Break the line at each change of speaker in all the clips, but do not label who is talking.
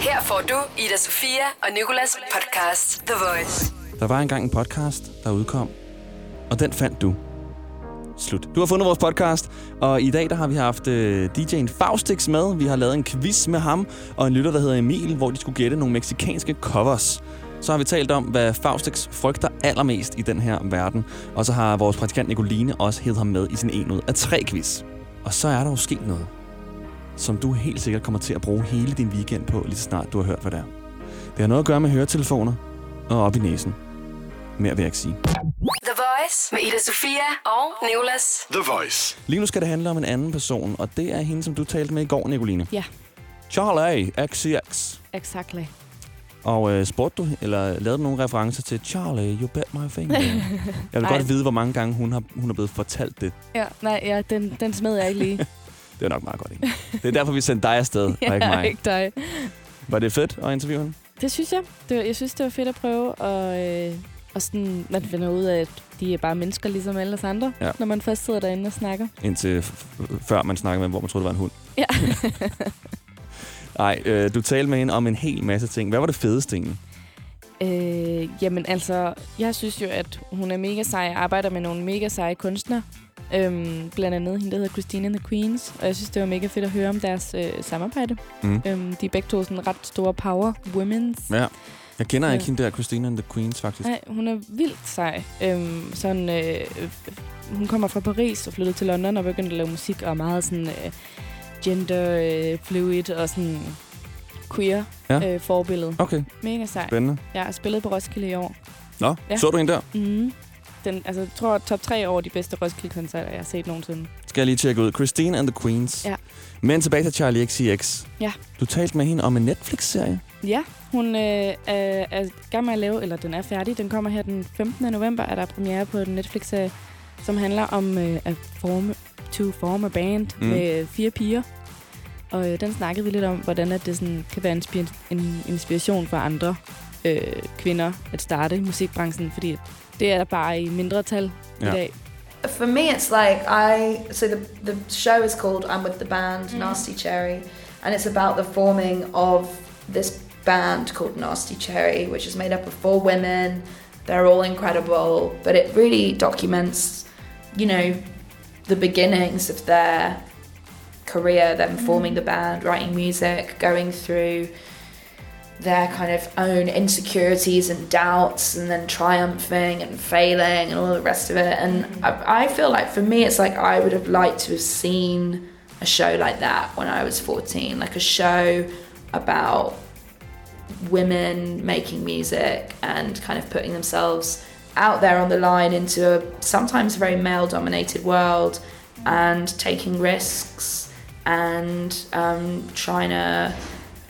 Her får du Ida Sofia og Nikolas podcast The Voice.
Der var engang en podcast, der udkom, og den fandt du. Slut. Du har fundet vores podcast, og i dag der har vi haft øh, DJ'en Faustix med. Vi har lavet en quiz med ham og en lytter, der hedder Emil, hvor de skulle gætte nogle meksikanske covers. Så har vi talt om, hvad Faustix frygter allermest i den her verden. Og så har vores praktikant Nicoline også hævet ham med i sin en ud af tre quiz. Og så er der jo sket noget, som du helt sikkert kommer til at bruge hele din weekend på, lige så snart du har hørt, hvad det er. Det har noget at gøre med høretelefoner og op i næsen. Mere vil jeg ikke sige.
The Voice med Ida Sofia og Nikolas.
The Voice.
Lige nu skal det handle om en anden person, og det er hende, som du talte med i går, Nicoline.
Ja.
Charlie XCX.
Exactly.
Og øh, spurgte du, eller lavede du nogle referencer til Charlie, you bet my finger. Jeg vil
Ej.
godt vide, hvor mange gange hun, har, hun er blevet fortalt det.
Ja, nej, ja, den, den smed jeg ikke lige.
Det er nok meget godt, ikke? Det er derfor, vi sendte dig afsted, og ikke mig.
ikke dig.
Var det fedt at interviewe hende?
Det synes jeg. Det var, jeg synes, det var fedt at prøve, og, øh, og sådan, man finder ud af, at de er bare mennesker, ligesom alle os andre,
Ja.
ja. når man først sidder derinde og snakker.
Indtil f- f- før man snakkede med hende, hvor man troede, det var en hund.
Ja.
Nej, øh, du talte med hende om en hel masse ting. Hvad var det fedeste egentlig?
Øh, jamen altså, jeg synes jo, at hun er mega sej og arbejder med nogle mega seje kunstnere. Øhm, blandt andet hende, der hedder Christine and the Queens. Og jeg synes, det var mega fedt at høre om deres øh, samarbejde.
Mm.
Øhm, de er begge to sådan ret store power women's.
Ja. Jeg kender ikke
Ja.
hende der, Christina and the Queens, faktisk.
Nej, hun er vildt sej. Øhm, sådan, øh, øh, hun kommer fra Paris og flyttede til London og begyndte at lave musik, og er meget sådan øh, gender øh, fluid og sådan queer
Ja.
ja. øh, forbillede.
Okay,
Mega sej.
spændende.
Jeg har spillet på Roskilde i år.
Nå, ja.
Ja.
så du hende der?
Mm. Den, altså, jeg tror, top 3 over de bedste Roskilde-koncerter, jeg har set nogensinde.
Skal jeg lige tjekke ud. Christine and the Queens.
Ja.
Men tilbage til Charlie XCX.
Ja.
Du talte med hende om en Netflix-serie.
Ja, hun øh, er, er i gang med at lave, eller den er færdig. Den kommer her den 15. november, er der premiere på den Netflix-serie, som handler om øh, at forme, to form a band
Mm.
mm. med fire piger. Og øh, den snakkede vi lidt om, hvordan at det sådan, kan være inspi- en inspiration for andre øh, kvinder at starte i musikbranchen, fordi at det er der bare i mindre tal
Ja.
ja. i dag.
For me, it's like I. So the the show is called "I'm with the Band," Nasty Cherry, and it's about the forming of this band called Nasty Cherry, which is made up of four women. They're all incredible, but it really documents, you know, the beginnings of their career, them forming the band, writing music, going through their kind of own insecurities and doubts and then triumphing and failing and all the rest of it and I, I feel like for me it's like i would have liked to have seen a show like that when i was 14 like a show about women making music and kind of putting themselves out there on the line into a sometimes very male dominated world and taking risks and um, trying to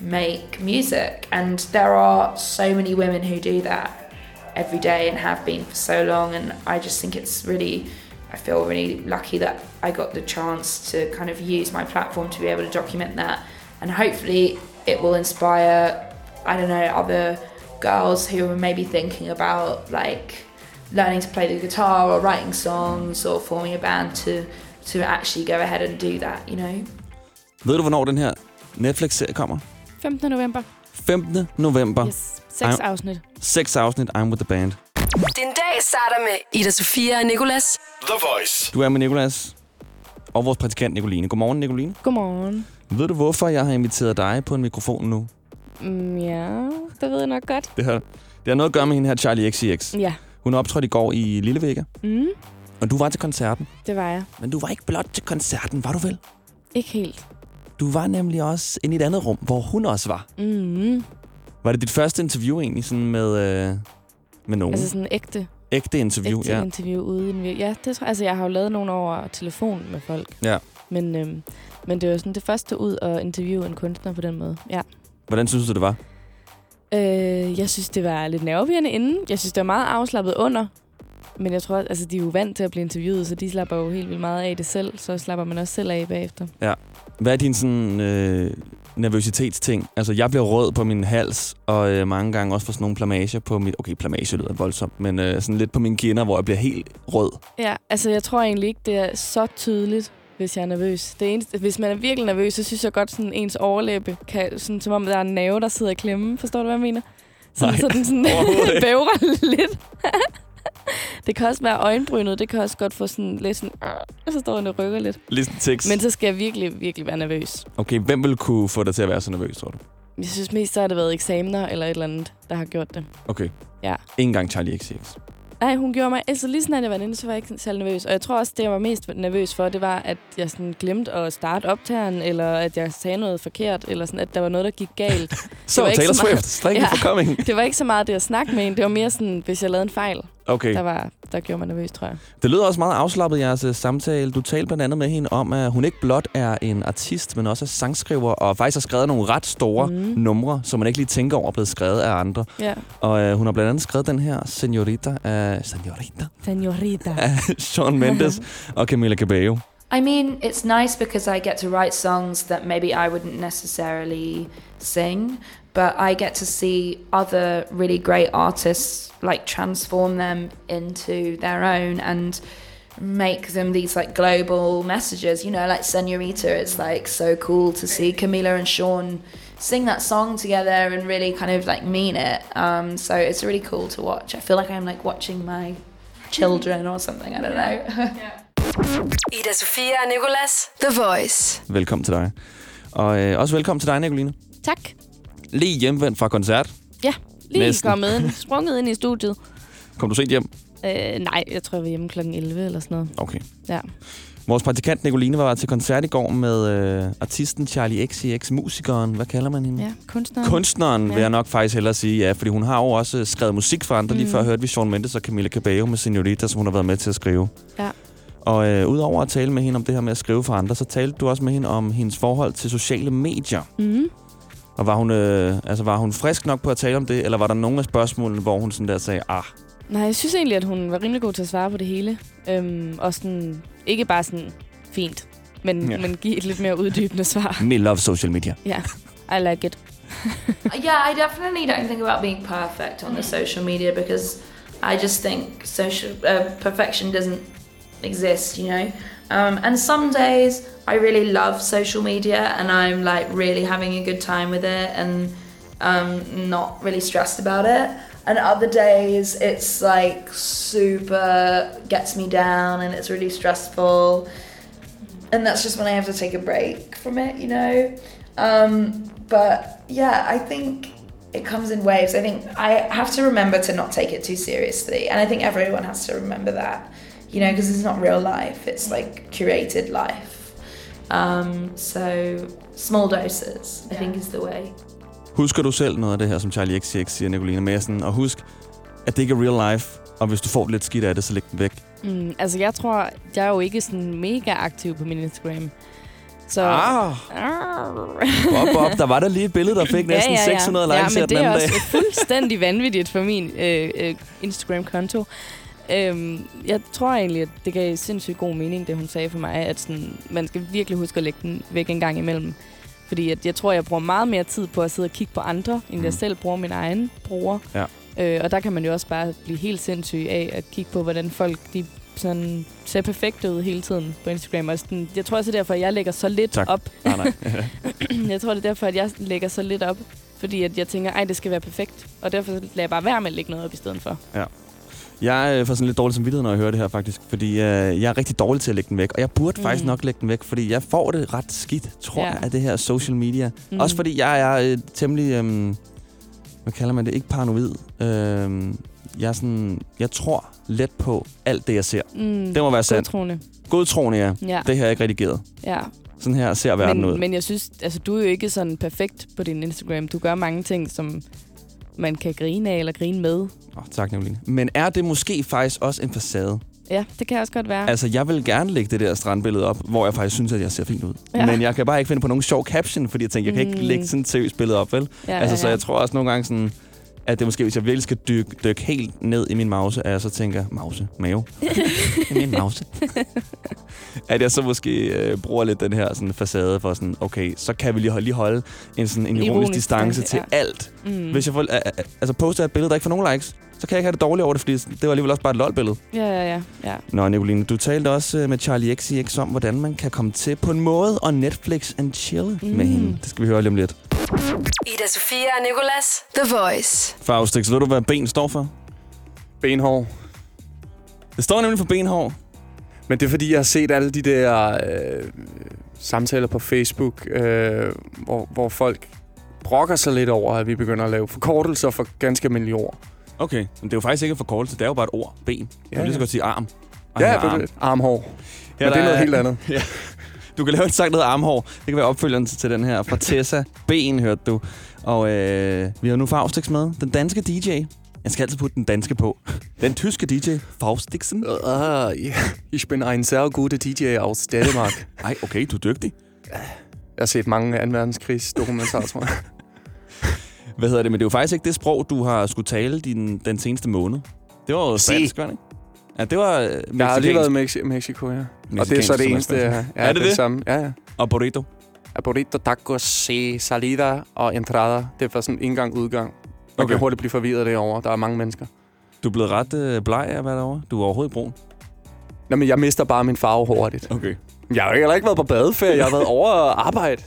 make music. And there are so many women who do that every day and have been for so long. And I just think it's really, I feel really lucky that I got the chance to kind of use my platform to be able to document that. And hopefully it will inspire, I don't know, other girls who are maybe thinking about like learning to play the guitar or writing songs or forming a band to to actually go ahead and do that, you know?
Ved du, hvornår den her Netflix-serie kommer?
15. november.
15. november. Yes.
Yes. Seks
Ej.
afsnit.
Seks afsnit, I'm with the band.
Din dag starter med Ida Sofia og Nikolas.
The Voice.
Du er med Nicolas og vores praktikant Nicoline. Godmorgen, Nicoline.
Godmorgen.
Ved du, hvorfor jeg har inviteret dig på en mikrofon nu?
Mm, ja, det ved jeg nok godt.
Det har, det har noget at gøre med hende her, Charlie XCX.
Ja.
Hun optrådte i går i Lillevega,
Mm,
og du var til koncerten.
det var jeg.
Men du var ikke blot til koncerten, var du vel?
Ikke helt.
Du var nemlig også inde i et andet rum, hvor hun også var.
Mm.
Var det dit første interview egentlig sådan med, øh, med nogen?
Altså
Altså,
sådan ægte,
Ægte interview,
ægte
ja.
interview ude i en vir- Ja, det tror altså jeg har jo lavet nogle over telefon med folk.
Ja.
Men, øhm, men det var sådan det første ud at interviewe en kunstner på den måde. Ja.
Hvordan synes du, det var?
Øh, jeg synes, det var lidt nervepirrende inden. Jeg synes, det var meget afslappet under. Men jeg tror, at altså, de er jo vant til at blive interviewet, så de slapper jo helt vildt meget af det selv. Så slapper man også selv af bagefter.
Hvad er din sådan, øh, nervøsitetsting? Altså, jeg bliver rød på min hals, og øh, mange gange også får sådan nogle plamager på mit... Okay, plamage lyder voldsomt, men øh, sådan lidt på mine kinder, hvor jeg bliver helt rød.
Ja, altså jeg tror egentlig ikke, det er så tydeligt. hvis jeg er nervøs. Det eneste, hvis man er virkelig nervøs, så synes jeg godt, sådan ens overlæbe kan, sådan, som om der er en nerve, der sidder i klemme. Forstår du, hvad jeg mener? Sådan,
Nej,
så den sådan
overhovedet ikke.
bævrer lidt. det kan også være øjenbrynet. Det kan også godt få sådan lidt sådan... "Arr", Så står den og rykker lidt.
Listen tekst.
Men så skal jeg virkelig, virkelig være nervøs.
Okay, hvem vil kunne få dig til at være så nervøs, tror du?
Jeg synes mest, så har det været eksamener eller et eller andet, der har gjort det.
Okay.
Ja.
Ikke engang Charlie XCX.
Nej, hun gjorde mig... Altså, lige snart jeg var inde, så var jeg ikke sådan særlig nervøs. Og jeg tror også, det, jeg var mest nervøs for, det var, at jeg sådan glemte at starte optageren, eller at jeg sagde noget forkert, eller sådan, at der var noget, der gik galt.
Så
var ikke
Taylor
så meget-
Swift. Thank you
Ja.
for coming.
det var ikke så meget det at snakke med en. Det var mere sådan, hvis jeg lavede en fejl,
Okay.
der, var, der gjorde mig nervøs, tror jeg.
Det lyder også meget afslappet, jeres øh, samtale. Du talte blandt andet med hende om, at hun ikke blot er en artist, men også er sangskriver, og faktisk har skrevet nogle ret store mm. numre, som man ikke lige tænker over er blevet skrevet af andre.
Ja.
Og øh, hun har blandt andet skrevet den her Senorita af, Senorita
Senorita.
af Sean Mendes og Camila Cabello.
I mean, it's nice because I get to write songs that maybe I wouldn't necessarily sing, but I get to see other really great artists like transform them into their own and make them these like global messages, you know, like Senorita. It's like so cool to see Camila and Sean sing that song together and really kind of like mean it. Um, so it's really cool to watch. I feel like I'm like watching my children or something. I don't know.
Ida Sofia og Nicolas. The Voice.
Velkommen til dig. Og øh, også velkommen til dig, Nicoline.
Tak.
Lige hjemvendt fra koncert.
Ja, lige
Næsten.
Næsten. kommet ind. Sprunget ind i studiet.
Kom du sent hjem?
Øh, nej, jeg tror, jeg var hjemme kl. 11 eller sådan noget.
Okay.
Ja.
Vores praktikant Nicoline var til koncert i går med øh, artisten Charlie XCX, musikeren. Hvad kalder man hende?
Ja, kunstner.
Kunstneren ja. vil
Mm. Ja.
jeg nok faktisk hellere sige, ja, fordi hun har jo også øh, skrevet musik for andre. Mm. Lige før hørte vi Sean Mendes og Camila Cabello med Senorita, som hun har været med til at skrive.
Ja.
Og øh, udover at tale med hende om det her med at skrive for andre, så talte du også med hende om hendes forhold til sociale medier.
Mm-hmm.
Og var hun, øh, altså, var hun frisk nok på at tale om det, eller var der nogle af spørgsmålene, hvor hun sådan der sagde, ah,
Nej, jeg synes egentlig, at hun var rimelig god til at svare på det hele. Øhm, og sådan, ikke bare sådan fint, men,
Ja.
ja. men give et lidt mere uddybende svar.
me love social media.
Ja, I like it.
yeah, I definitely don't think about being perfect on the social media because I just think social uh, perfection doesn't exist, you know. Um, and some days I really love social media and I'm like really having a good time with it and um, not really stressed about it. And other days it's like super gets me down and it's really stressful. And that's just when I have to take a break from it, you know. Um, but yeah, I think it comes in waves. I think I have to remember to not take it too seriously, and I think everyone has to remember that, you know, because it's not real life; it's like curated life. Um, so small doses, I think, is the way.
Husker du selv noget af det her, som Charlie XCX siger, Nicoline Madsen? Og husk, at det ikke er real life, og hvis du får lidt skidt af det, så læg den væk.
Mm, altså, jeg tror, jeg er jo ikke sådan mega aktiv på min Instagram. Så... Ah.
Ah,
Arr.
op, op. Der var der lige et billede, der fik næsten 600 likes
ja,
her
men
den
det
anden
er
dag.
også fuldstændig vanvittigt for min øh, øh, Instagram-konto. Øhm, jeg tror egentlig, at det gav sindssygt god mening, det hun sagde for mig, at sådan, man skal virkelig huske at lægge den væk en gang imellem. Fordi at jeg tror, jeg bruger meget mere tid på at sidde og kigge på andre, end mm.
Mm.
jeg selv bruger min egen bruger.
Ja.
Øh, og der kan man jo også bare blive helt sindssyg af at kigge på, hvordan folk de sådan, ser perfekte ud hele tiden på Instagram. Og sådan, jeg tror også, det er derfor, at jeg lægger så lidt
Tak.
op
Nej, nej.
jeg tror, det er derfor, at jeg lægger så lidt op. Fordi at jeg tænker, ej, det skal være perfekt. Og derfor lader jeg bare være med at lægge noget op i stedet for.
Jeg øh, får sådan lidt dårlig samvittighed, når jeg hører det her faktisk, fordi øh, jeg er rigtig dårlig til at lægge den væk, og jeg burde mm.
Mm.
faktisk nok lægge den væk, fordi jeg får det ret skidt, tror
Ja.
jeg, af det her social media. Mm.
Mm.
Også fordi jeg er øh, temmelig, øh, hvad kalder man det, ikke paranoid. Øh, jeg, er sådan, jeg tror let på alt det, jeg ser.
Mm,
Det må være sandt.
Godtroende.
Godtroende, ja.
Ja,
Det her er ikke redigeret.
ja.
Sådan her ser verden ud.
Men, men jeg synes, altså, du er jo ikke sådan perfekt på din Instagram. Du gør mange ting, som man kan grine af eller grine med.
Oh, tak, Nicoline. Men er det måske faktisk også en facade?
Ja, det kan også godt være.
Altså, jeg vil gerne lægge det der strandbillede op, hvor jeg faktisk synes, at jeg ser fint ud. Ja.
Ja.
Men jeg kan bare ikke finde på nogen sjov caption, fordi jeg tænker, jeg kan ikke
Mm.
lægge sådan et seriøst billede op, vel?
ja,
altså, så jeg tror også nogle gange sådan, at det måske, hvis jeg virkelig skal dykke, dykke helt ned i min mause, at jeg så tænker, mause, mave, det er min mause. at jeg så måske øh, bruger lidt den her sådan, facade for sådan, okay, så kan vi lige, holde- lige holde en, sådan, en ironisk,
Ironisk
distance
distance,
til alt.
Mm.
Hvis jeg får, øh, øh, altså, poster jeg et billede, der ikke får nogen likes, så kan jeg ikke have det dårligt over det, fordi det var alligevel også bare et lol-billede.
Ja, ja, ja. ja.
Nå, Nicoline, du talte også øh, med Charlie XCX om, hvordan man kan komme til på en måde og Netflix and chill mm. med hende. Det skal vi høre lige om lidt.
Ida Sofia og Nicolas. The Voice.
Faustix, ved du, hvad ben står for?
Benhår.
Det står nemlig for benhår.
Men det er, fordi jeg har set alle de der øh, samtaler på Facebook, øh, hvor, hvor folk brokker sig lidt over, at vi begynder at lave forkortelser for ganske almindelige ord.
Okay. Men det er jo faktisk ikke en forkortelse, det er jo bare et ord. Ben. Du kan
Ja,
lige så
ja.
godt sige arm. Og
Ja,
han har
det er det. armhår. Ja, Men
der
det er noget helt andet.
Ja. Du kan lave en sang, der hedder Armhår. Det kan være opfølgeren til til den her. Fra Tessa Ben, hørte du. Og øh, vi har nu Faustix med. Den danske DJ. Jeg skal altid putte den danske på. Den tyske DJ, Faustixen.
Ah, ja. Ich bin ein sehr guter DJ aus Danmark.
Ej, okay, du er dygtig.
jeg har set mange 2. verdenskrigsdokumentarer, tror jeg.
Hvad hedder det? Men det er jo faktisk ikke det sprog, du har skulle tale din, den seneste måned. Det var jo
Si.
spansk, var det ikke? Ja, det var øh,
Jeg har lige
mexicansk.
været i Mex- Mexico, ja. Og det er
Mexicansk,
så det
som
eneste,
spansk.
jeg ja,
Er det det?
samme. Ja, ja.
Og burrito.
A burrito, tacos, se, salida og entrada. Det var sådan indgang, udgang. Man okay.
Okay.
kan hurtigt blive forvirret derovre. Der er mange mennesker.
Du er blevet ret øh, bleg af, hvad derovre. Du er overhovedet brun.
Nå, men jeg mister bare min farve hurtigt.
Okay.
Jeg har jo heller ikke været på badeferie. Jeg har været over at arbejde.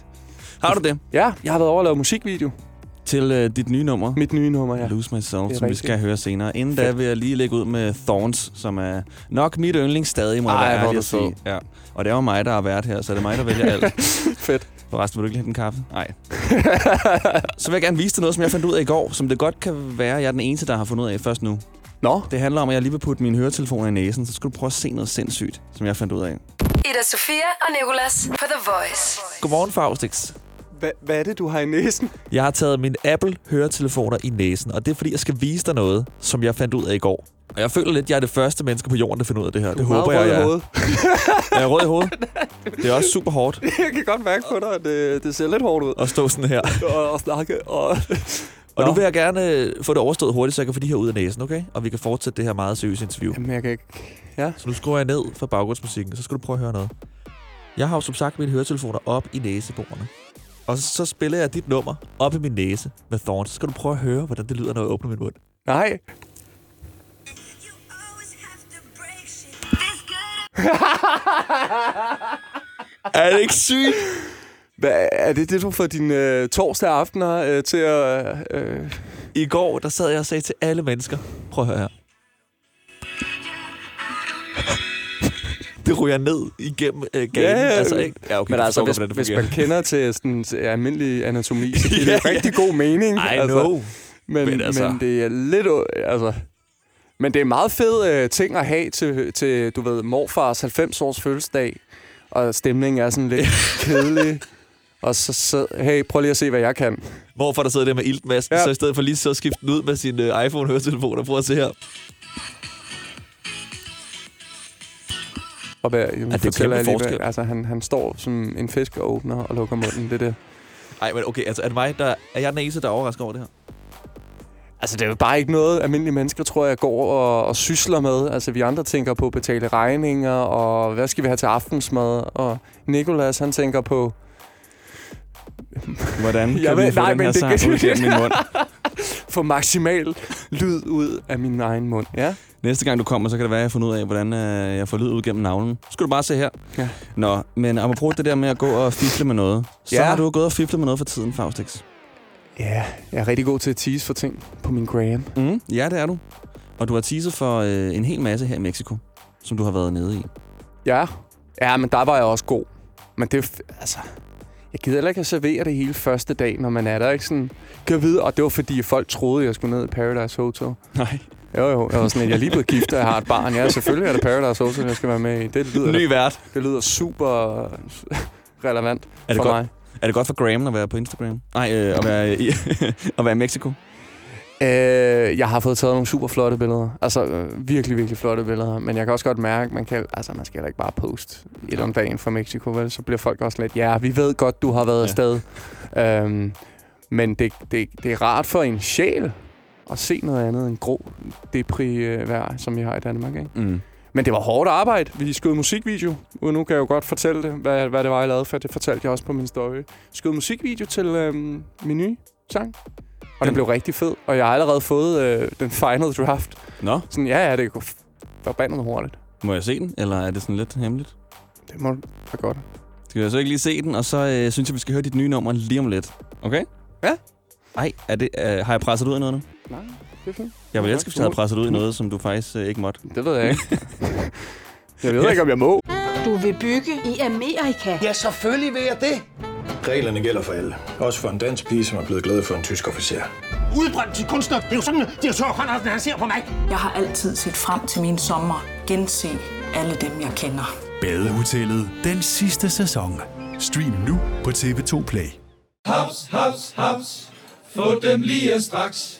Har du det?
Ja, jeg har været over at lave musikvideo.
Til øh, dit nye nummer.
Mit nye nummer,
Ja.
ja.
Lose Myself,
Det er
som vi
rigtigt.
skal høre senere. Inden da vil jeg lige lægge ud med Thorns, som er nok mit yndlings stadig, må jeg
Ej,
være
hvor er
ærlig
du
at sige. Ja. Og det er jo mig, der har været her, så det er mig, der vælger alt.
Fedt.
Forresten, vil du ikke hente en kaffe? Nej. så vil jeg gerne vise dig noget, som jeg fandt ud af i går, som det godt kan være, jeg er den eneste, der har fundet ud af først nu.
Nå,
Det handler om, at jeg lige vil putte mine høretelefoner i næsen, så skal du prøve at se noget sindssygt, som jeg fandt ud af.
Ida Sofia og Nicolas på The Voice.
Godmorgen, Faustix.
hva, hvad er det, du har i næsen?
Jeg har taget mine Apple-høretelefoner i næsen, og det er fordi, jeg skal vise dig noget, som jeg fandt ud af i går. Og jeg føler lidt, at jeg er det første menneske på jorden, der finder ud af det her. Det håber jeg, jeg er.
hovedet.
Er jeg rød i hovedet? Det er også super hårdt
Jeg kan godt mærke på dig, at øh, det, det ser lidt hårdt ud.
at stå sådan her.
Og, og snakke. Og...
Og nu
Nå.
vil jeg gerne øh, få det overstået hurtigt, så jeg kan få de her ud af næsen, okay? Og vi kan fortsætte det her meget seriøse interview.
Jamen, jeg kan ikke... Ja.
Så nu skruer jeg ned for baggrundsmusikken, så skal du prøve at høre noget. Jeg har jo som sagt mine høretelefoner op i næseborene. Og så spiller jeg dit nummer op i min næse med Thorns. Så skal du prøve at høre, hvordan det lyder, når jeg åbner min mund.
Nej.
Er det ikke sygt?
Hva, er det det, du får dine øh, torsdag aftener øh, til at... Øh,
I går, der sad jeg og sagde til alle mennesker, prøv at høre her. Det ryger ned igennem øh, ganen.
Ja, ja.
altså, ikke? Ja, okay,
men
jeg forstår
altså, hvis,
godt, hvordan
hvis
fungerer.
man kender til sådan til almindelig anatomi, så giver
Ja,
det rigtig god mening.
I
altså.
know.
Men,
Men
men,
altså-
altså. men det er lidt... u- Altså, men det er en meget fed øh, ting at have til, til, du ved, morfars 90-års fødselsdag, og stemningen er sådan lidt kedelig. Og så, så, hey, prøv lige at se, hvad jeg kan.
Hvorfor der sidder der med iltmasken, ja.
Ja.
så i stedet for lige så at skifte den ud med sin øh, iPhone-høretelefon og prøve at se her.
Og hvad, jamen,
er kæmpe
fortæller jeg lige, hvad,
forskel.
altså, han, han står som en fiskeåbner og lukker munden. Det er det.
Ej, men okay, altså er, det mig, der, er jeg den eneste, der er overrasket over det her?
Altså, det er jo bare ikke noget, almindelige mennesker, tror jeg, går og, og sysler med. Altså, vi andre tænker på at betale regninger, og hvad skal vi have til aftensmad? Og Nikolas, han tænker på...
Hvordan kan
Jeg
vi
ved-
få
nej,
den
men
her
det
sang
kan-
ud gennem min mund?
få maksimal lyd ud af min egen mund. Ja?
Næste gang du kommer, så kan det være, at jeg har fundet ud af, hvordan øh, jeg får lyd ud gennem navlen. Så skal du bare se her.
Ja.
Nå, men apropos det der med at gå og fifle med noget. Så
Ja.
har du gået og fiflet med noget for tiden, Faustix.
Ja, jeg er rigtig god til at tease for ting på min gram.
Mm. Ja, det er du. Og du har teaset for øh, en hel masse her i Mexico, som du har været nede i.
Ja. Ja, men der var jeg også god. Men det er f- altså... Jeg gider heller ikke at servere det hele første dag, når man er der, ikke sådan... Kan vide, og det var fordi folk troede, jeg skulle ned i Paradise Hotel.
Nej.
Jo, jo, jeg var sådan, at jeg er lige blevet gift, og jeg har et barn. Ja, selvfølgelig er det Paradise Hotel, jeg skal være med i. Det lyder,
Ny vært.
det lyder super relevant
Er det,
for
godt,
mig.
er det godt for Graham at være på Instagram? Nej, øh, at, være i, at være i Mexico.
Øh, jeg har fået taget nogle super flotte billeder. Altså øh, virkelig, virkelig flotte billeder. Men jeg kan også godt mærke, man kan, altså, man skal heller ikke bare poste et om dagen fra Mexico, vel? Så bliver folk også lidt, ja, vi ved godt, du har været
Ja.
ja. afsted. Øhm, men det, det, det er rart for en sjæl at se noget andet end grå depri-vejr, som vi har i Danmark, ikke?
Mm.
Men det var hårdt arbejde. Vi skød musikvideo. Og nu kan jeg jo godt fortælle det, hvad, hvad det var, jeg lavede, for det fortalte jeg også på min story. Skød musikvideo til øhm, min nye sang. Og Og den blev rigtig fed, og jeg har allerede fået øh, den final draft.
Nå,
Sådan, ja, ja, det går forbandet hurtigt.
må jeg se den, eller er det sådan lidt hemmeligt?
Det må du da godt.
Skal jeg så ikke lige se den, og så øh, synes jeg, vi skal høre dit nye nummer lige om lidt. Okay?
Ja.
Ej, er det, øh, har jeg presset dig ud i noget nu?
Nej, det er fint.
Jeg ville elske, hvis jeg havde presset dig ud i noget, som du faktisk øh, ikke måtte.
Det ved jeg ikke. jeg ved ikke, om jeg må.
Du vil bygge i Amerika.
Ja, selvfølgelig vil jeg det.
Reglerne gælder for alle. Også for en dansk pige, som er blevet glad for en tysk officer.
Udbrændt til kunstner. Det er jo sådan, at direktør Conradsen, han ser på mig.
Jeg har altid set frem til min sommer. Gense alle dem, jeg kender.
Badehotellet den sidste sæson. Stream nu på TV2 Play.
Haps, haps, haps. Få dem lige straks.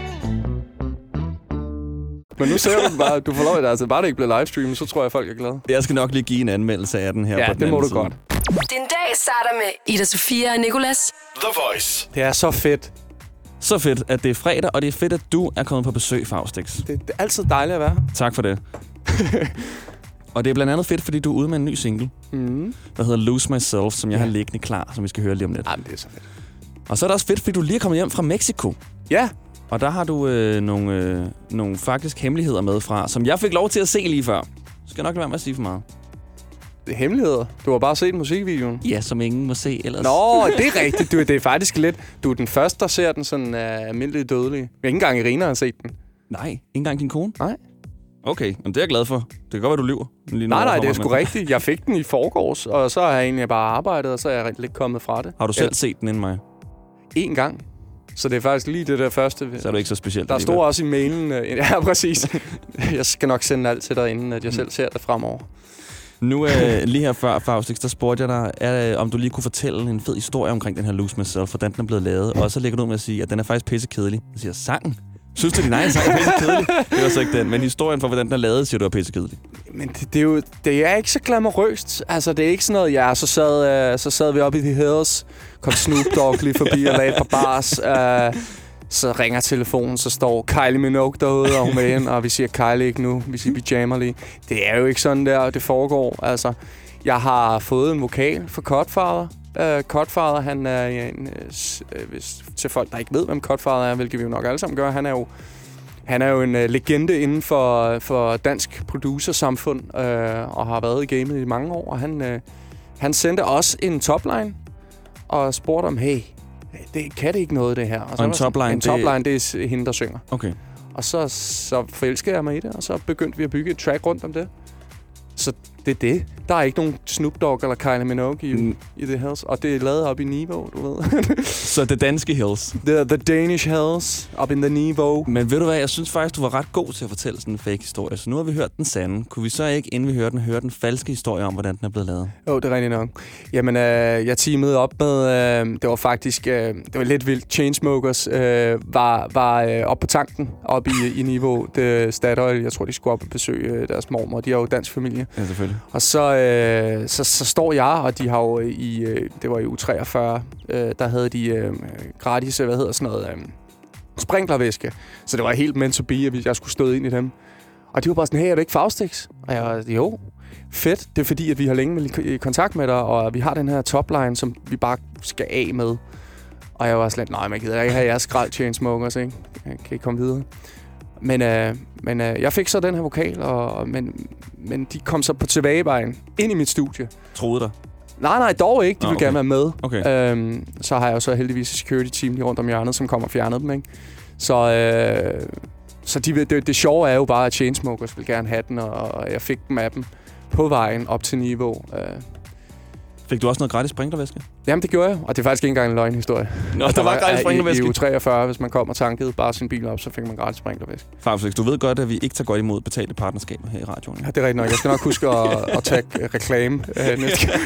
Men nu ser du den bare, du får lov, at altså, bare det ikke bliver livestreamet, så tror jeg, folk er glade.
Jeg skal nok lige give en anmeldelse af den her
Ja,
på
ja
den
det må
anden
du
side.
godt.
Din dag starter med Ida Sofia og Nicolas.
The Voice.
Det er så fedt.
Så fedt, at det er fredag, og det er fedt, at du er kommet på besøg, Faustix.
Det, det er altid dejligt at være.
Tak for det. og det er blandt andet fedt, fordi du er ude med en ny single,
Mm.
der hedder Lose Myself, som jeg har liggende klar, som vi skal høre lige om lidt.
Jamen, det er så fedt.
Og så er det også fedt, fordi du lige er kommet hjem fra Mexico.
Ja,
Og der har du øh, nogle, øh, nogle faktisk hemmeligheder med fra, som jeg fik lov til at se lige før. Skal jeg nok lade være med at sige for meget.
det er hemmeligheder. Du har bare set musikvideoen.
Ja, som ingen må se ellers.
Nå, det er rigtigt. Du, det er faktisk lidt... Du er den første, der ser den sådan uh, almindelig dødelig. Jeg ikke engang Irina har set den.
Nej, ikke engang din kone?
Nej.
Okay, men det er jeg glad for. Det kan godt være, du lyver. Lige nu
Nej, nej,
overfor
det er
mig,
sgu
men-
rigtigt. Jeg fik den i forgårs, og så har jeg egentlig bare arbejdet, og så er jeg lidt kommet fra det.
Har du selv set den inden mig?
En gang. Så det er faktisk lige det der første.
Så er du ikke så specielt.
Der
alligevel.
står også i mailen. øh, Ja, præcis. jeg skal nok sende alt til dig, inden at jeg selv ser det fremover.
Nu øh, lige her før, Faustix, der spurgte jeg dig, er, øh, om du lige kunne fortælle en fed historie omkring den her Lose Myself, hvordan den er blevet lavet. Og så lægger du ud med at sige, at den er faktisk pissekedelig. Jeg siger, sangen? Synes du, din egen sang er pissekedelig? Det var så ikke den, men historien for, hvordan den er lavet, siger du er pissekedelig.
Men det, det, er jo det er ikke så glamourøst. Altså, det er ikke sådan noget, ja, så sad, øh, så sad vi oppe i The Hills, kom Snoop Dogg lige forbi og lagde et par bars. Øh, så ringer telefonen, så står Kylie Minogue derude, og hun er ind, og vi siger Kylie ikke nu, vi siger vi jammer lige. Det er jo ikke sådan der, det foregår. Altså, jeg har fået en vokal for Codfather. Uh, Codfather, han er en, øh, s- øh, hvis, til folk, der ikke ved, hvem Codfather er, hvilket vi jo nok alle sammen gør, han er jo han er jo en øh, legende inden for, for dansk producersamfund, øh, og har været i gamet i mange år. Og han, øh, han sendte også en topline, og spurgte om, hey, det, kan det ikke noget, det her? Og, så
en
var jeg sådan,
topline,
En
det-
topline, det, det er s- hende, der synger.
Okay.
Og så, så forelskede jeg mig i det, og så begyndte vi at bygge et track rundt om det. Så det er det. Der er ikke nogen Snoop Dogg eller Kylie Minogue i,
Mm.
mm. i det her. Og det er lavet op i Niveau, du ved.
Så det danske Hills.
the, the Danish Hells, op in the Niveau.
Men ved du hvad, jeg synes faktisk, du var ret god til at fortælle sådan en fake historie. Så nu har vi hørt den sande. Kunne vi så ikke, inden vi hører den, høre den falske historie om, hvordan den er blevet lavet?
Jo, det er rigtigt nok. Jamen, øh, jeg teamede op med, øh, det var faktisk, øh, det var lidt vildt, Chainsmokers øh, var, var øh, oppe på tanken, oppe i, i niveau, det Statoil, jeg tror, de skulle op og besøge øh, deres mormor, de er jo dansk familie.
Ja, selvfølgelig.
Og så, øh, så, så står jeg, og de har jo i, øh, det var i U43, øh, der havde de øh, gratis, øh, hvad hedder sådan noget, øh, sprinklervæske. Så det var helt meant to be, at jeg skulle støde ind i dem. Og de var bare sådan, hey, er det ikke Faustix? Og jeg var, jo, fedt. Det er fordi, at vi har længe været i kontakt med dig, og vi har den her topline, som vi bare skal af med. Og jeg var sådan lidt, nej, man gider ikke have jeres skrald Chainsmokers, ikke? Jeg kan ikke komme videre. Men, øh, men øh, jeg fik så den her vokal, og, og- men, men de kom så på tilbagevejen ind i mit studie.
Troede dig.
Nej, nej, dog ikke. De
Nå,
ville
okay.
gerne være med.
Okay.
Øhm, så har jeg jo så heldigvis et security team lige rundt om hjørnet, som kommer og fjerner dem, ikke? Så, øh, så de, vil- det, det sjove er jo bare, at Chainsmokers vil gerne have den, og, og jeg fik dem af dem på vejen op til niveau. Øh.
Fik du også noget gratis sprinklervæske?
Jamen, det gjorde jeg, og det er faktisk ikke engang en løgnhistorie. Altså,
Nå, der var gratis
I, i
sprinklervæske.
uge 43, hvis man kom og tankede bare sin bil op, så fik man gratis sprinklervæske.
Faustix, du ved godt, at vi ikke tager godt imod betalte partnerskaber her i radioen.
Ja, det er rigtigt nok. Jeg skal nok huske at, at tage øh, reklame øh, næste gang.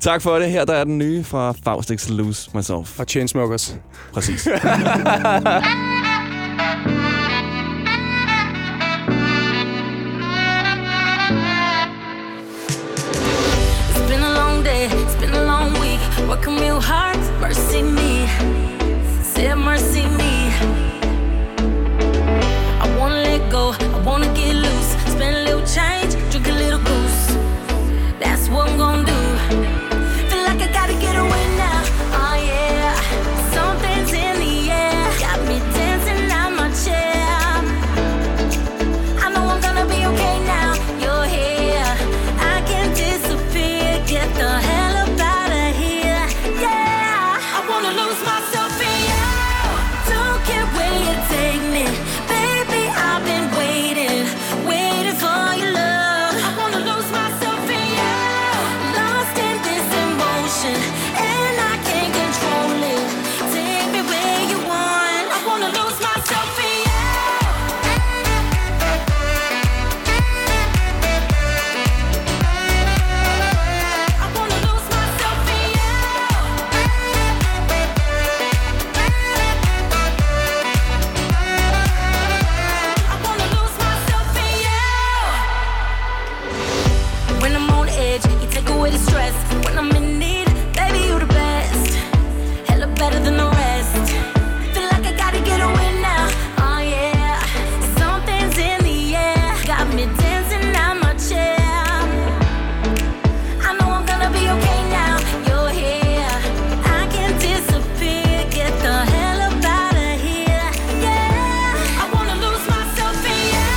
Tak for det. Her der er den nye fra Faustix Lose Myself.
Og Chainsmokers.
Præcis.
It's been a long day, it's been a long week. Working real hard, mercy me. Say mercy me. I wanna let go, I wanna get loose. Spend a little change, drink a little goose. That's what I'm gonna do. Feel like I gotta get away now. Oh yeah, something's in the air. Got me dancing on my chair. I know I'm gonna be okay now. You're here. I can disappear. Get the hell up out of here. Yeah. I wanna lose myself in you. Don't care where you take me. Baby, I've been waiting, waiting for your love. I wanna lose myself in you. Lost in this emotion. And I can't control it. Take me where you want. I wanna lose myself in you. When I'm on edge, you take away the stress. When I'm in need, baby, you the best. Hella better than the rest. Feel like I gotta get away now. Oh yeah, something's in the air. Got me dancing on my chair. I know I'm gonna be okay now. You're here. I can disappear. Get the hell up out of here. Yeah, I wanna lose myself in you.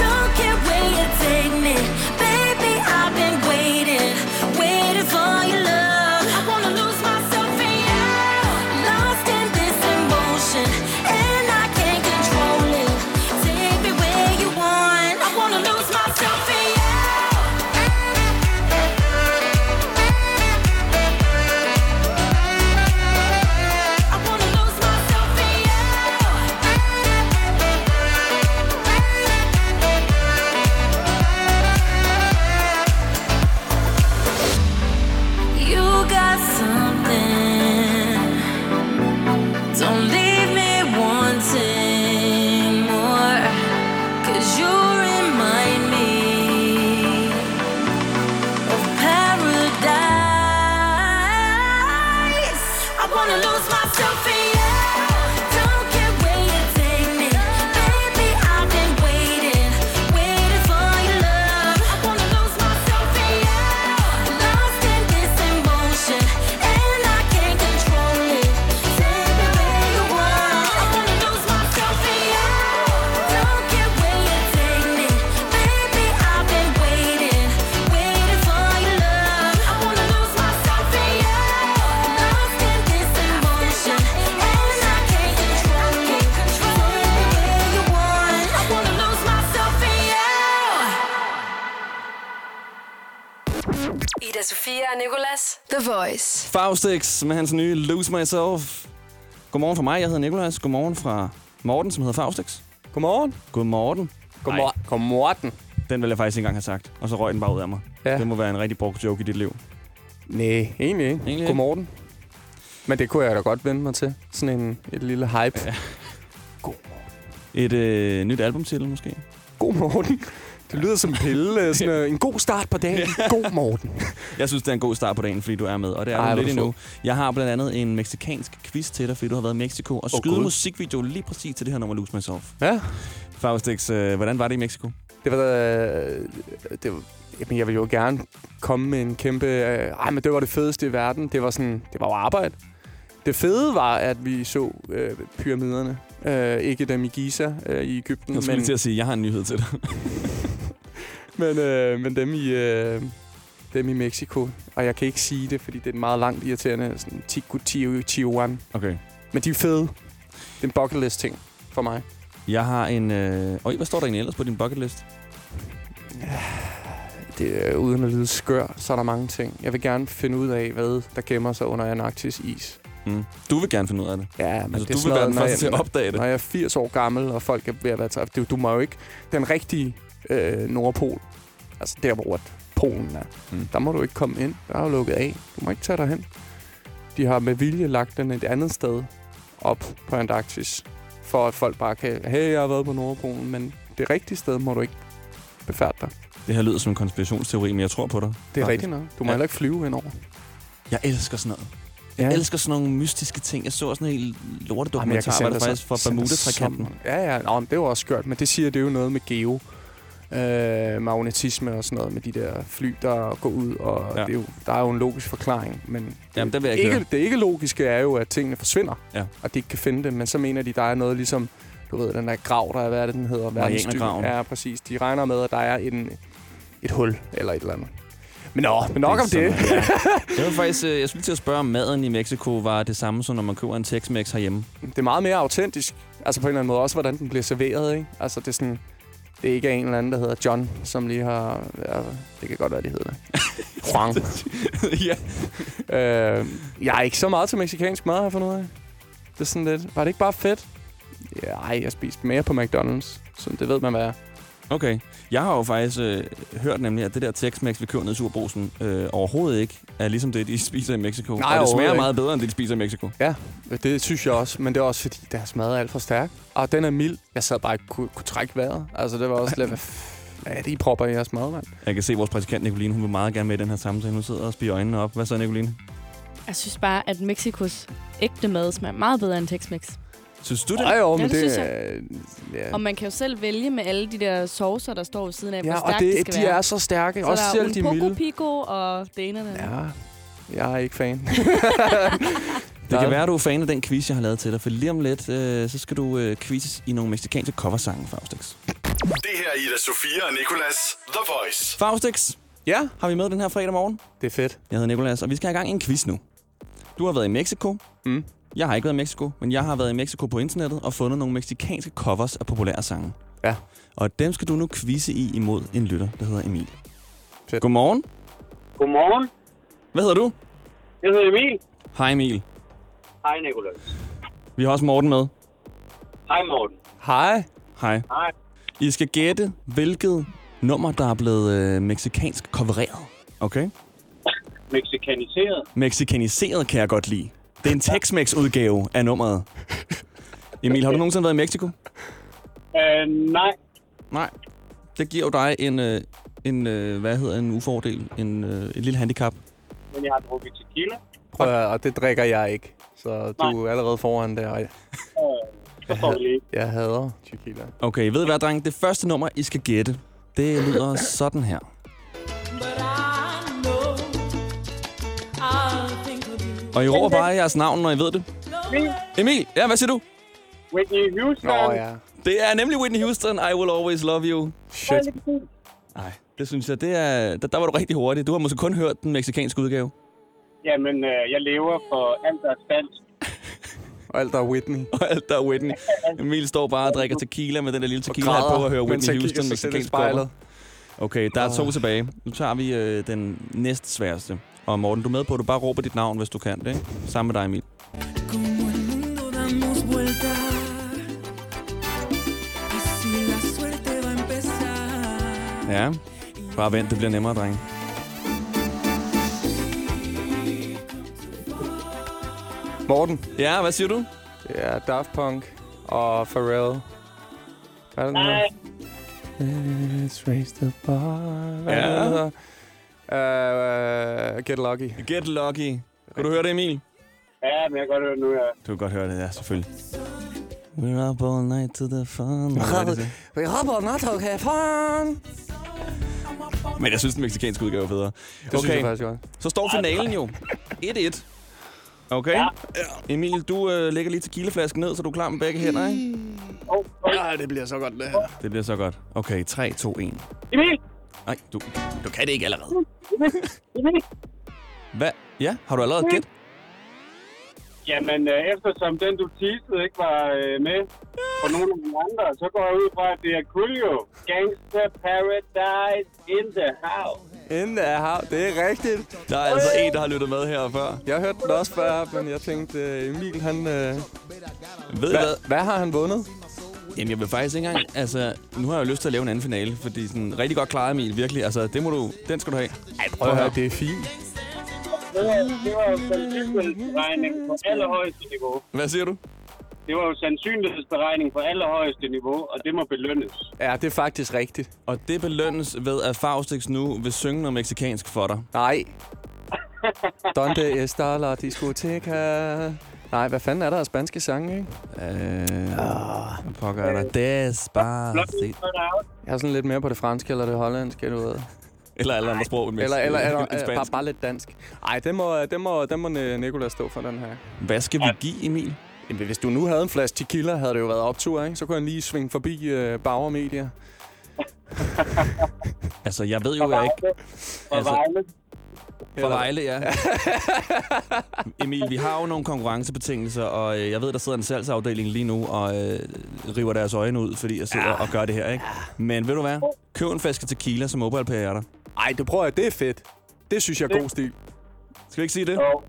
Don't care where you take me, baby. I've been waiting, waiting for your love. I wanna lose myself in you, lost in this emotion, and I can't control it. Take me where you want. I wanna lose myself in you. You got something. Don't leave me wanting more. Cause you remind me of paradise. I wanna lose myself in you. Don't care where you take me. Baby, I've been waiting, waiting for your love. I wanna lose myself in you. Lost in this emotion, and I can't control it. Take me where you want. I wanna lose myself in you. Don't care where you take me, baby. I've been waiting, waiting for your love. I wanna lose myself in you. Lost in this emotion, and I can't control it. Take me where you want. I wanna lose myself in you.
Ida Sofia og Nicolas. The Voice.
Faustix med hans nye Lose Myself. Godmorgen fra mig, jeg hedder Nicolas. Godmorgen fra Morten, som hedder Faustix.
Godmorgen.
Godmorgen.
Godmor- Godmorgen.
Den ville jeg faktisk ikke engang have sagt, og så røg den bare ud af mig. Ja. Det må være en rigtig brugt joke i dit liv.
Nej, egentlig ikke.
ikke.
Godmorgen. Men det kunne jeg da godt vende mig til. Sådan en, et lille hype. Ja.
Et øh, nyt albumtitel måske.
Godmorgen. Det lyder som en pille. øh, Sådan øh, en god start på dagen. God morgen.
Jeg synes, det er en god start på dagen, fordi du er med, og det er
Ej,
Ej,
hvor
du lidt
er du
endnu. Jeg har blandt andet en meksikansk quiz til dig, fordi du har været i Mexico, og
Åh,
oh, skyde
Gud.
musikvideo lige præcis til det her nummer Lose Myself.
Ja.
Faustix, øh, hvordan var det i Mexico?
Det var da... øh, Det var, jamen, jeg ville jo gerne komme med en kæmpe... Øh, ej, men det var det fedeste i verden. Det var sådan... Det var jo arbejde. Det fede var, at vi så øh, pyramiderne. Øh, ikke dem i Giza øh, i Ægypten,
Jeg skulle lige til at sige, at jeg har en nyhed til dig.
men, øh, men dem i... Øh, dem i Mexico. Og jeg kan ikke sige det, fordi det er en meget langt irriterende sådan Ticuan.
Okay.
Men de er fede. Det er en bucket list ting for mig.
Jeg har en... Øh... Øj, hvad står der egentlig ellers på din bucket list?
Det, er, øh, uden at lyde skør, så er der mange ting. Jeg vil gerne finde ud af, hvad der gemmer sig under Antarktis is.
Mm. Du vil gerne finde ud af det.
Ja, men
altså,
det er
du
sådan
vil være
noget,
den
når
første
jeg-
til at opdage det.
Når jeg er 80 år gammel, og folk er ved at være træt. Du, du må jo ikke... Den rigtige øh, Nordpol, altså der, hvor at Polen er. Mm. Der må du ikke komme ind. Der er jo lukket af. Du må ikke tage dig hen. De har med vilje lagt den et andet sted op på Antarktis, for at folk bare kan, hey, jeg har været på Nordpolen, men det rigtige sted må du ikke befærde dig.
Det her lyder som en konspirationsteori, men jeg tror på dig.
Det er rigtigt nok. Du må heller ikke flyve indover.
Jeg elsker sådan noget. Jeg
Ja.
elsker sådan nogle mystiske ting. Jeg så sådan en hel
Jamen, jeg
lortedokumentar,
kan
hvor
sende
der
dig så-
faktisk fra
sende dig
Bermuda-trekanten.
så- Ja, ja. Nå, men det var også skørt, men det siger det er jo noget med geo. Øh, magnetisme og sådan noget med de der fly, der går ud, og ja. det er jo, der er jo en logisk forklaring, men
Jamen, det vil jeg ikke
ikke,
høre.
det ikke logiske er jo, at tingene forsvinder,
Ja.
og de ikke kan finde det, men så mener de, der er noget ligesom, du ved, den der grav, der er, hvad er det, den hedder? Verdens dybde.
Marianergraven.
Ja, præcis. De regner med, at der er en, et hul eller et eller andet. Men nå, men
Det
nok
er
om det.
sådan, ja. Jeg, vil faktisk, øh, jeg skulle lige til at spørge, om maden i Mexico var det samme, som når man køber en Tex-Mex herhjemme.
det er meget mere autentisk. Altså på en eller anden måde også, hvordan den bliver serveret, ikke? Altså det er sådan... Det er ikke en eller anden, der hedder John, som lige har... Ja, det kan godt være, det hedder det. Juan.
ja.
Øh, jeg er ikke så meget til mexicansk mad, har jeg fundet ud af. Det er sådan lidt... Var det ikke bare fedt? Ja, ej, jeg spiste mere på McDonald's. Så det ved man, hvad er.
Okay. Jeg har jo faktisk øh, hørt nemlig, at det der Tex-Mex, vi køber ned i Superbrugsen, øh, overhovedet ikke er ligesom det, de spiser i Mexico.
Nej,
og det smager
overhovedet
meget
ikke.
bedre, end det, de spiser i Mexico.
Ja, det synes jeg også. Men det er også, fordi deres mad er alt for stærk. Og den er mild. Jeg sad bare ikke kunne, kunne trække vejret. Altså, det var også lidt... Hvad f- hvad er det, I propper i jeres mad, mand?
Jeg kan se, at vores prædikant Nicoline, hun vil meget gerne med i den her samtale. Hun sidder og spiger øjnene op. Hvad så, Nicoline?
Jeg synes bare, at Mexikos ægte mad smager meget bedre end Tex-Mex.
Synes du det?
Ej, jo, men
Ja, det
det,
synes jeg.
er- ja.
Og man kan jo selv vælge med alle de der saucer, der står ved siden af,
Ja,
hvor
og
stærkt
det,
det, skal
de
være.
er så stærke.
Så
også
der
selv
er
de
un poco
milde.
pico og det ene og det andet.
Ja, jeg er ikke fan.
Det kan være, at du er fan af den quiz, jeg har lavet til dig. For lige om lidt, øh, så skal du øh, quizzes i nogle mexicanske coversange, Faustix.
Det her er Ida Sofia og Nikolas The Voice.
Faustix?
Ja?
Har vi med den her fredag morgen?
Det er fedt.
Jeg hedder Nicolas, og vi skal have gang i en quiz nu. Du har været i Mexico.
Mm.
Jeg har ikke været i Mexico, men jeg har været i Mexico på internettet og fundet nogle mexicanske covers af populære sange.
Ja.
Og dem skal du nu quizze i imod en lytter, der hedder Emil. Fedt. Godmorgen.
Godmorgen.
Hvad hedder du?
Jeg hedder Emil.
Hej Emil.
Hej, Nicolas.
Vi har også Morten med.
Hej, Morten.
Hej.
Hej.
Hej.
I skal gætte, hvilket nummer, der er blevet øh, mexicansk covereret. Okay?
Mexikaniseret.
Mexikaniseret kan jeg godt lide. Det er en Tex-Mex-udgave af nummeret. Emil, har du nogensinde været i Mexico?
Øh, nej.
Nej. Det giver jo dig en, øh, en øh, hvad hedder en ufordel, en, øh, et lille handicap.
Men jeg har drukket tequila.
Prøv, at- og det drikker jeg ikke. Så du er allerede foran der. og jeg-
Øh, så får vi lige.
Jeg hader tequila.
Okay, ved I hvad, dreng? Det første nummer, I skal gætte, det lyder sådan her. Og I råber bare jeres navn, når I ved det. Emil, ja, hvad siger du?
Whitney Houston. Nå,
ja.
Det er nemlig Whitney Houston, I Will Always Love You.
Shit.
Nej, det synes jeg, det er, der, der var du rigtig hurtig. Du har måske kun hørt den meksikanske udgave.
Jamen, øh, jeg lever for alt, der er dansk.
Og alt der er Whitney.
Og alt der er Whitney. Emil står bare og drikker tequila med den der lille tequila
græder,
på og hører
mens han
Whitney
kigger
Houston
sig
med
selv i
tequila spejlet.
spejlet.
Okay, der er to tilbage. Nu tager vi øh, den næst sværeste. Og Morten, du er med på, at du bare råber dit navn, hvis du kan det, ikke? Sammen med dig, Emil.
damos vuelta. Y si la suerte va a empezar.
Ja, bare vent, det bliver nemmere, drenge.
Morten.
Ja, hvad siger du?
Ja, Daft Punk og Pharrell. Hvad er det, den
Nej.
hedder? Let's raise the bar. Hvad
Ja.
er det, den hedder? Øh, øh, get Lucky.
Get Lucky. Kan du høre det, Emil?
Ja, men jeg kan godt høre nu, ja.
Du kan godt høre det, ja, selvfølgelig. We're up all night to the fun.
Vi hopper not okay, fun.
Men jeg synes, den meksikanske udgave er bedre.
Det synes jeg faktisk godt.
Så står finalen jo. 1-1. Okay. Ja. Emil, du øh, lægger lige tequilaflasken ned, så du er klar med begge hænder, ikke?
Ja, det bliver så godt, det her.
Det bliver så godt. Okay, 3, 2, 1.
Emil!
Nej, du, du kan det ikke allerede.
Emil!
Hvad? Ja, har du allerede gæt?
Jamen, øh, eftersom den, du teasede, ikke var øh, med på nogen af de andre, så går jeg ud fra, at det er Coolio. Gangster Paradise in the house.
Inden det er her. Det er rigtigt.
Der er altså en, der har lyttet med her før.
Jeg hørte den også før, men jeg tænkte, øh, Emil, han... Øh,
Ved I
hvad,
hvad?
hvad har han vundet?
Jamen, jeg vil faktisk ikke engang... Altså, nu har jeg jo lyst til at lave en anden finale, fordi sådan rigtig godt klaret, Emil, virkelig. Altså, det må du, den skal du have. Ej,
prøv at høre, det er fint.
Det var, det var jo sandsynlighedsberegning på allerhøjeste niveau.
Hvad siger du?
Det var jo sandsynlighedsberegning på allerhøjeste niveau, og det må belønnes.
Ja, det er faktisk rigtigt.
Og det belønnes ved, at Faustix nu vil synge noget meksikansk for dig.
Nej. Donde está la discoteca? Nej, hvad fanden er der af spanske sange, ikke?
Øh, oh, pokker er der despacito.
Jeg er sådan lidt mere på det franske eller det hollandske, du ved.
Eller alle andre sprog end
Eller,
meks-
eller,
end-
eller
end
øh,
spansk.
bare, bare lidt dansk. Nej, det må, det må, det må Nicolas stå for, den her.
Hvad skal vi give, Emil?
Jamen, hvis du nu havde en flaske tequila, havde det jo været optur, ikke? Så kunne han lige svinge forbi øh, Bauer Media.
Altså, jeg ved jo, jeg ikke... Altså, For Vejle, ja. Emil, vi har jo nogle konkurrencebetingelser, og øh, jeg ved, der sidder en salgsafdeling lige nu og øh, river deres øjne ud, fordi jeg sidder og gør det her, ikke? Men ved du hvad? Køb en flaske tequila, så mobile er der.
Ej, det prøver jeg. Det er fedt. Det synes jeg er god stil.
Skal vi ikke sige det?
Jo.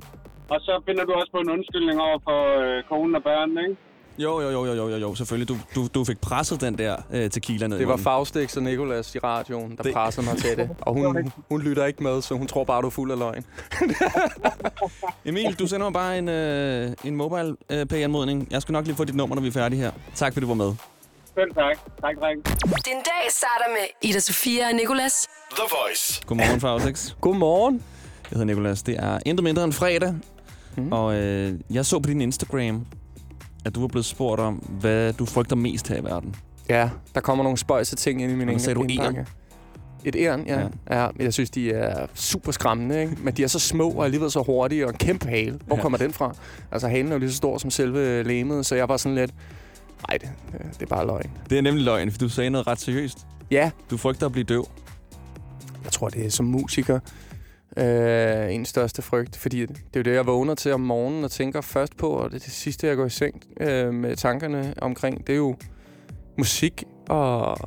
Og så finder du også på en undskyldning over for øh, konen og børnene, ikke?
Jo, jo, jo, jo, jo, jo, jo selvfølgelig. Du, du, du fik presset den der øh, tequila ned. i
Det var
munden.
Faustix og Nicolas i radioen, der
Det-
Mm. det... pressede mig til det. Og hun, hun lytter ikke med, så hun tror bare, du er fuld af løgn.
Emil, du sender mig bare en, øh, en mobile øh, pay-anmodning. Jeg skal nok lige få dit nummer, når vi er færdige her. Tak, fordi du var med.
Selv tak. Tak, dreng.
Din dag starter med Ida Sofia og Nicolas.
The Voice.
Godmorgen, Faustix.
Godmorgen.
Jeg hedder Nikolas. Det er intet mindre end fredag. Mm. Og øh, jeg så på din Instagram, at du var blevet spurgt om, hvad du frygter mest her i verden.
Ja, der kommer nogle spøjse ting ind i min
Og nu sagde du
indpakke.
æren.
Et æren, ja. ja. ja. men Jeg synes, de er super skræmmende, ikke? Men de er så små og alligevel så hurtige og en kæmpe hale. Hvor
Ja.
ja. kommer den fra? Altså, halen er jo lige så stor som selve lemet, så jeg var sådan lidt... Nej, det, øh, det er bare løgn.
Det er nemlig løgn, for du sagde noget ret seriøst.
Ja,
Du frygter at blive døv.
jeg tror, det er som musiker øh, en største frygt, fordi det er jo det, jeg vågner til om morgenen og tænker først på, og det, er det sidste, jeg går i seng øh, med tankerne omkring, det er jo musik, og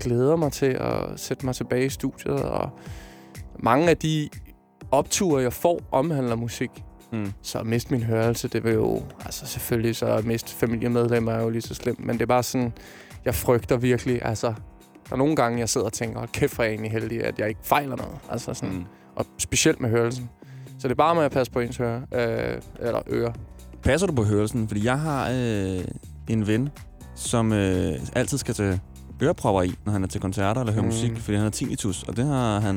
glæder mig til at sætte mig tilbage i studiet, og mange af de opture, jeg får, omhandler musik.
Mm.
Så at miste min hørelse, det vil jo... Altså selvfølgelig, så at miste familiemedlemmer er jo lige så slemt, men det er bare sådan... Jeg frygter virkelig, altså... Der er nogle gange, jeg sidder og tænker, hold kæft, hvor er jeg egentlig heldig, at jeg ikke fejler noget. Altså sådan... Mm. Og specielt med hørelsen. Så det er bare med at passe på ens høre, øh, eller ører.
Passer du på hørelsen? Fordi jeg har øh, en ven, som øh, altid skal tage ørepropper i, når han er til koncerter eller hører
Mm.
mm. musik, fordi han har tinnitus, og det har han...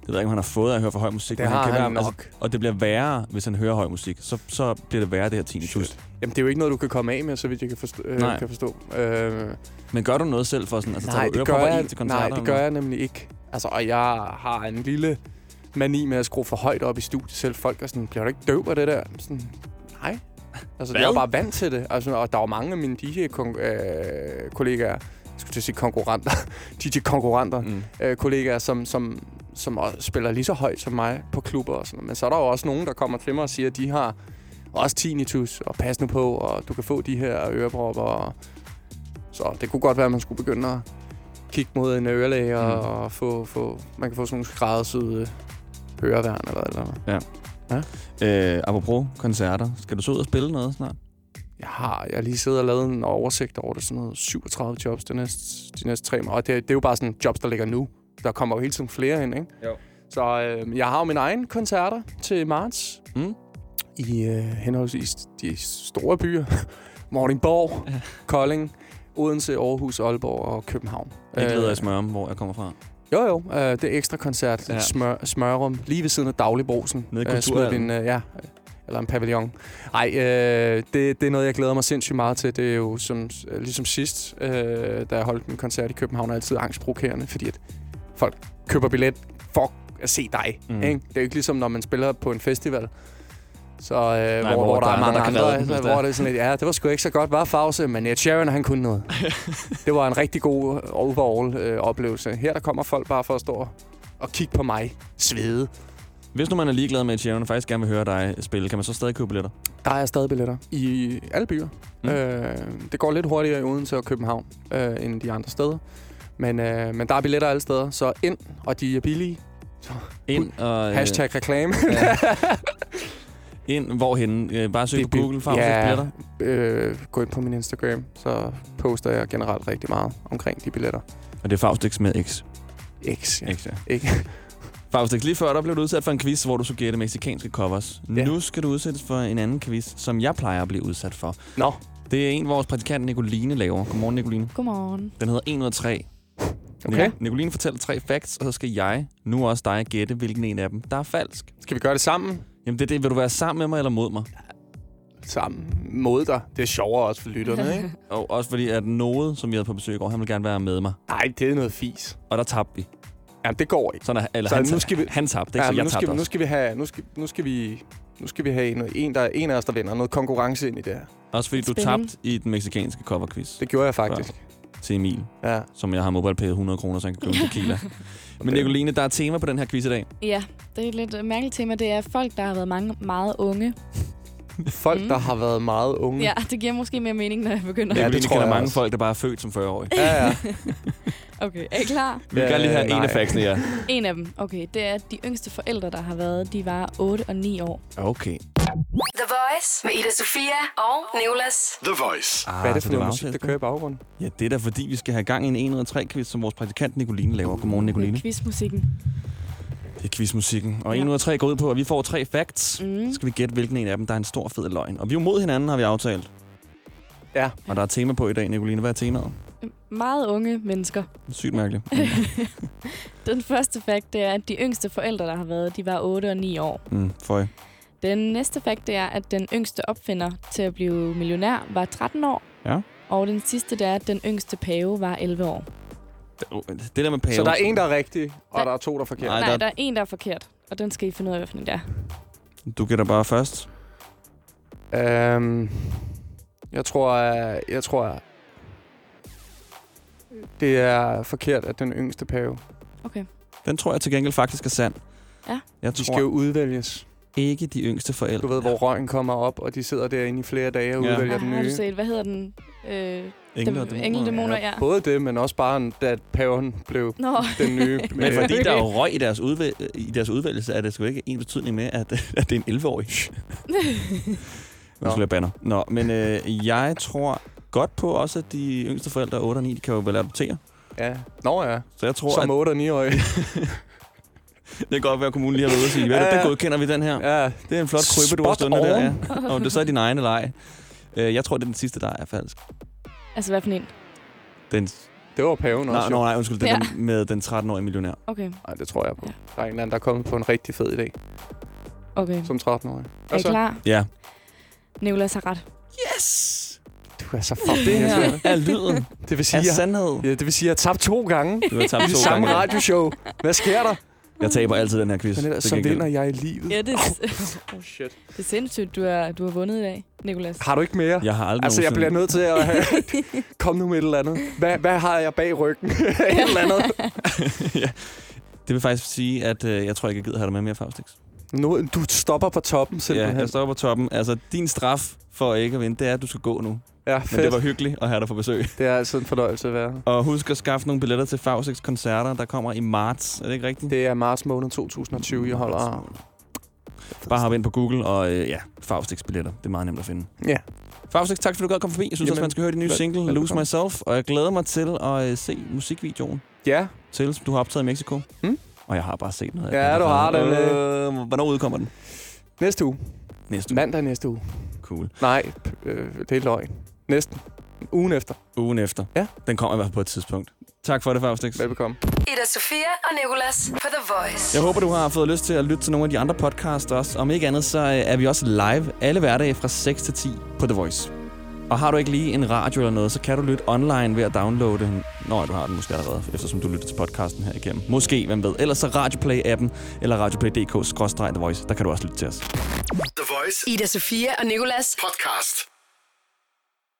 Det ved jeg ikke, om han har fået af at høre for høj musik.
Det
men
har
kan
han altså-
være,
nok.
og det bliver værre, hvis han hører høj musik. Så, så bliver det værre, det her tinnitus. Shit.
Jamen, det er jo ikke noget, du kan komme af med, så vidt jeg kan forstå.
Nej.
Øh, kan forstå. Øh,
Men gør du noget selv for sådan, altså tager du
det gør
ørepropper
jeg,
i til koncerter?
nej, det
eller
gør jeg nemlig ikke. Altså, og jeg har en lille mani med at skrue for højt op i studiet selv. Folk er sådan, bliver du ikke døv af det der? Sådan, nej. Altså,
Hvad?
jeg er bare vant til det. Altså, og der er jo mange af mine DJ-kollegaer, øh, jeg skulle til at sige konkurrenter, DJ-konkurrenter, mm. øh, kollegaer, som, som, som også spiller lige så højt som mig på klubber og sådan noget. Men så er der jo også nogen, der kommer til mig og siger, at de har også tinnitus, og pas nu på, og du kan få de her ørepropper. Og... Så det kunne godt være, at man skulle begynde at kigge mod en ørelæge, mm. og få, få, man kan få sådan nogle skræddersyde høreværn eller eller andet.
Ja. Øh, apropos koncerter, skal du så ud og spille noget snart?
Jeg har, jeg har lige siddet og lavet en oversigt over det, sådan noget 37 jobs de næste, de næste tre måneder. Og det, det er jo bare sådan jobs, der ligger nu. Der kommer jo hele tiden flere ind, ikke?
Jo.
Så øh, jeg har jo mine egne koncerter til marts.
Mm.
I øh, henholdsvis de store byer. Morningborg, Kolding, Odense, Aarhus, Aalborg og København.
Jeg
Øh,
glæder jeg smørum, hvor jeg kommer fra.
Jo, jo. Øh, det er ekstra koncert.
Ja.
Ja. Smør, smørrum. Lige ved siden af dagligbrosen.
Nede i
Øh, smid
Kulturhallen.
din, øh, ja, eller en pavillon. Nej, øh, det, det er noget, jeg glæder mig sindssygt meget til. Det er jo som, øh, ligesom sidst, øh, da jeg holdt min koncert i København, er altid angstprovokerende, fordi at folk køber billet for at se dig.
Mhm.
Mm. Ikke? Det er jo ikke ligesom, når man spiller på en festival. Så øh, Nej,
hvor
hvor, hvor,
der
der,
er
er
andre,
mange
der
andre,
kan redde den,
andre
hvis
hvor
det er.
det er sådan lidt, ja, det var sgu ikke så godt, var Fause, men Ed Sheeran, han kunne noget. det var en rigtig god øh, overall-oplevelse. Her der kommer folk bare for at stå og- og kigge på mig svede.
Hvis nu man er ligeglad med, at Sharon og faktisk gerne vil høre dig spille, kan man så stadig købe billetter?
Der er stadig billetter i alle byer.
Mm.
Mm. Øh, det går lidt hurtigere i Odense og København øh, end de andre steder. Men, øh, men der er billetter alle steder, så ind, og de er billige.
Ind og... øh,
Hashtag reklame.
Ind, hvorhen? Øh, bare søg
Det-
på
det-
Google, Faustix Billetter.
øh, gå ind på min Instagram, så poster jeg generelt rigtig meget omkring de billetter.
Og det er Faustix med X.
X,
ja. X, ja.
Ikke?
Faustix, lige før der blev du udsat for en quiz, hvor du skulle gætte mexicanske covers. Ja. Nu skal du udsættes for en anden quiz, som jeg plejer at blive udsat for.
Nå.
Det er en, vores praktikant Nicoline laver. Godmorgen, Nicoline.
Godmorgen.
Den hedder 103.
Okay.
Nicoline fortæller tre facts, og så skal jeg, nu også dig, gætte, hvilken en af dem, der er falsk.
Skal vi gøre det sammen?
Jamen det er det. Vil du være sammen med mig eller mod mig?
Sammen. Mod dig. Det er sjovere også for lytterne, ikke?
Og også fordi, at Noel, som vi havde på besøg i går, han ville gerne være med mig.
Nej, det er noget fis.
Og der tabte vi.
Jamen, det går ikke.
Sådan, er- eller
Så
han,
nu skal vi...
han tabte, ikke? så
men
jeg tabte
nu skal, vi- nu
også.
skal vi have, nu skal, nu skal vi, nu skal vi have en, en, der, en af os, der vinder noget konkurrence ind i det her.
Også fordi du
Spændende.
tabte i den meksikanske coverquiz.
Det gjorde jeg faktisk.
Før, til Emil,
ja.
som jeg har mobilepæret 100 kroner, så han kan købe en tequila. Men Nicoline, der er tema på den her quiz i dag.
Ja, det er et lidt øh, mærkeligt tema. Det er folk, der har været mange, meget unge.
Mm. Folk, der har været meget unge.
Ja, det giver måske mere mening, når jeg begynder.
Nicoline
det tror
kender
jeg
mange
også.
folk, der bare er født som 40-årige.
Ja, ja.
Okay, er I klar?
Vi vil gerne lige have
Øh,
en af
nej.
faxene, ja.
En af dem, okay, det er at de yngste forældre, der har været, de var 8 og 9 år.
Okay.
The Voice med Ida Sofia og Nicolas.
The Voice.
Ah,
Hvad er det for
så
noget
var
musik, der
afsættet.
kører i baggrunden?
Ja, det er da fordi, vi skal have gang i en 103-quiz, som vores praktikant Nicoline laver. Godmorgen, Nicoline.
Quizmusikken.
Det er quizmusikken. Og
Ja.
103 går ud på, at vi får tre facts.
Mm.
Mm. Så skal vi gætte, hvilken en af dem, der er en stor fed løgn. Og vi er jo mod hinanden, har vi aftalt.
Ja.
Og der er tema på i dag, Nicoline. Hvad er temaet?
Meget unge mennesker.
Sygt mærkeligt.
Den første fakt, det er, at de yngste forældre, der har været, de var 8 og 9 år.
Mm, føj.
Den næste fakt, det er, at den yngste opfinder til at blive millionær var 13 år.
Ja.
Og den sidste, det er, at den yngste pave var 11 år.
Det der med pave.
Så der er en, der er rigtig, og der er to, der er forkert.
Nej, der er en, der er forkert, og den skal I finde ud af, hvilken det er.
Du gætter bare først.
Øhm, jeg tror, øh, jeg tror, det er forkert, at den yngste pave.
Okay.
Den tror jeg til gengæld faktisk er sand.
Ja.
Jeg
De
tror
skal jo udvælges.
ikke de yngste forældre.
Du ved, hvor røgen kommer op, og de sidder derinde i flere dage og
Ja.
udvælger den
Ah, har du
nye.
set, hvad hedder den? Øh,
Engle og
dem-
dæmoner,
Engeldæmoner, ja.
Både det, men også bare, da paven blev
Nå.
den nye.
Men
øh,
fordi der er jo røg i deres, udvæl- i deres udvælgelse, er det sgu ikke en betydning med, at, at det er en 11-årig. Nu skal jeg banner. Nå, men øh, jeg tror godt på også, at de yngste forældre, 8 og 9, de kan jo vel adoptere.
Ja. Nå ja.
Så jeg tror,
Som
at
8 og 9 årige
det kan godt være, at kommunen lige har været ude og sige, ja,
Ja,
ja.
ja.
den godkender vi den her.
Ja.
Det er en flot krybbe, du har
Spot
stående der. Ja.
on.
Og om det så er din egen eller ej. Øh, Jeg tror, det er den sidste, der er falsk.
Altså, hvad for en?
Den...
Det var paven
Nej,
også,
nej,
jo.
nej, undskyld. Det
Ja.
er den med den 13-årige millionær.
Okay,
Nej, det tror jeg på. Der er en eller anden, der er kommet på en rigtig fed idé
okay.
som altså- 13-årig.
Er I klar?
Ja.
Nicolas har ret.
Yes!
Du er så fucking
Det her
irriterende.
er lyden
Det vil
af
sige, jeg,
sandhed.
ja, det vil sige, jeg har tabt to gange.
Du har tabt
I det
to
samme
gange, ja.
radioshow. Hvad sker der?
Jeg taber altid den her quiz.
Men ellers,
til
så
gengæld.
vinder jeg i livet.
Ja, det er,
Oh, shit.
det er sindssygt, du har, du har vundet i dag, Nicolas.
Har du ikke mere?
Jeg har aldrig
Altså, jeg bliver
nogensinde-
nødt til at have... Kom nu med et eller andet. Hvad, hvad har jeg bag ryggen? et eller andet.
Det vil faktisk sige, at øh, jeg tror ikke, jeg gider have dig med mere, Faustix.
Nu, du stopper på toppen,
Ja,
simpelthen.
jeg står på toppen. Altså, din straf for ikke at vinde, det er, at du skal gå nu.
Ja,
Men det
fedt.
var hyggeligt at have dig på besøg.
Det er altid en fornøjelse at være her.
Og husk at skaffe nogle billetter til Faustix koncerter, der kommer i marts. Er det ikke rigtigt?
Det er marts måned 2020, jeg holder her.
Bare hop ind på Google, og øh, ja, Faustix billetter. Det er meget nemt at finde.
Ja.
Faustix, tak fordi du godt kom forbi. Jeg synes Jamen, også,
Jamen,
man skal høre din nye
vel-
single, Lose
velbekomme.
Myself. Og jeg glæder mig til at øh, se musikvideoen
Ja,
til, som du har optaget i Mexico.
Mm.
Og jeg har bare set noget af
Ja, du har den,
Øh, hvornår udkommer den?
næste uge.
Næste uge.
Mandag næste uge.
Cool.
Nej, p- øh, det er løgn. Næsten. Ugen efter.
Ugen efter.
Ja.
Den kommer i hvert fald på et tidspunkt. Tak for det, Faustix.
Velbekomme.
Ida Sofia og Nicolas på The Voice.
Jeg håber, du har fået lyst til at lytte til nogle af de andre podcasts også. Om ikke andet, så øh, er vi også live alle hverdage fra 6 til 10 på The Voice. Og har du ikke lige en radio eller noget, så kan du lytte online ved at downloade den. Nå, du har den måske allerede, eftersom du lytter til podcasten her igennem. Måske, hvem ved. Ellers så Radioplay-appen eller radioplay.dk-the voice. Der kan du også lytte til os.
The Voice. Ida Sofia og Nicolas. Podcast.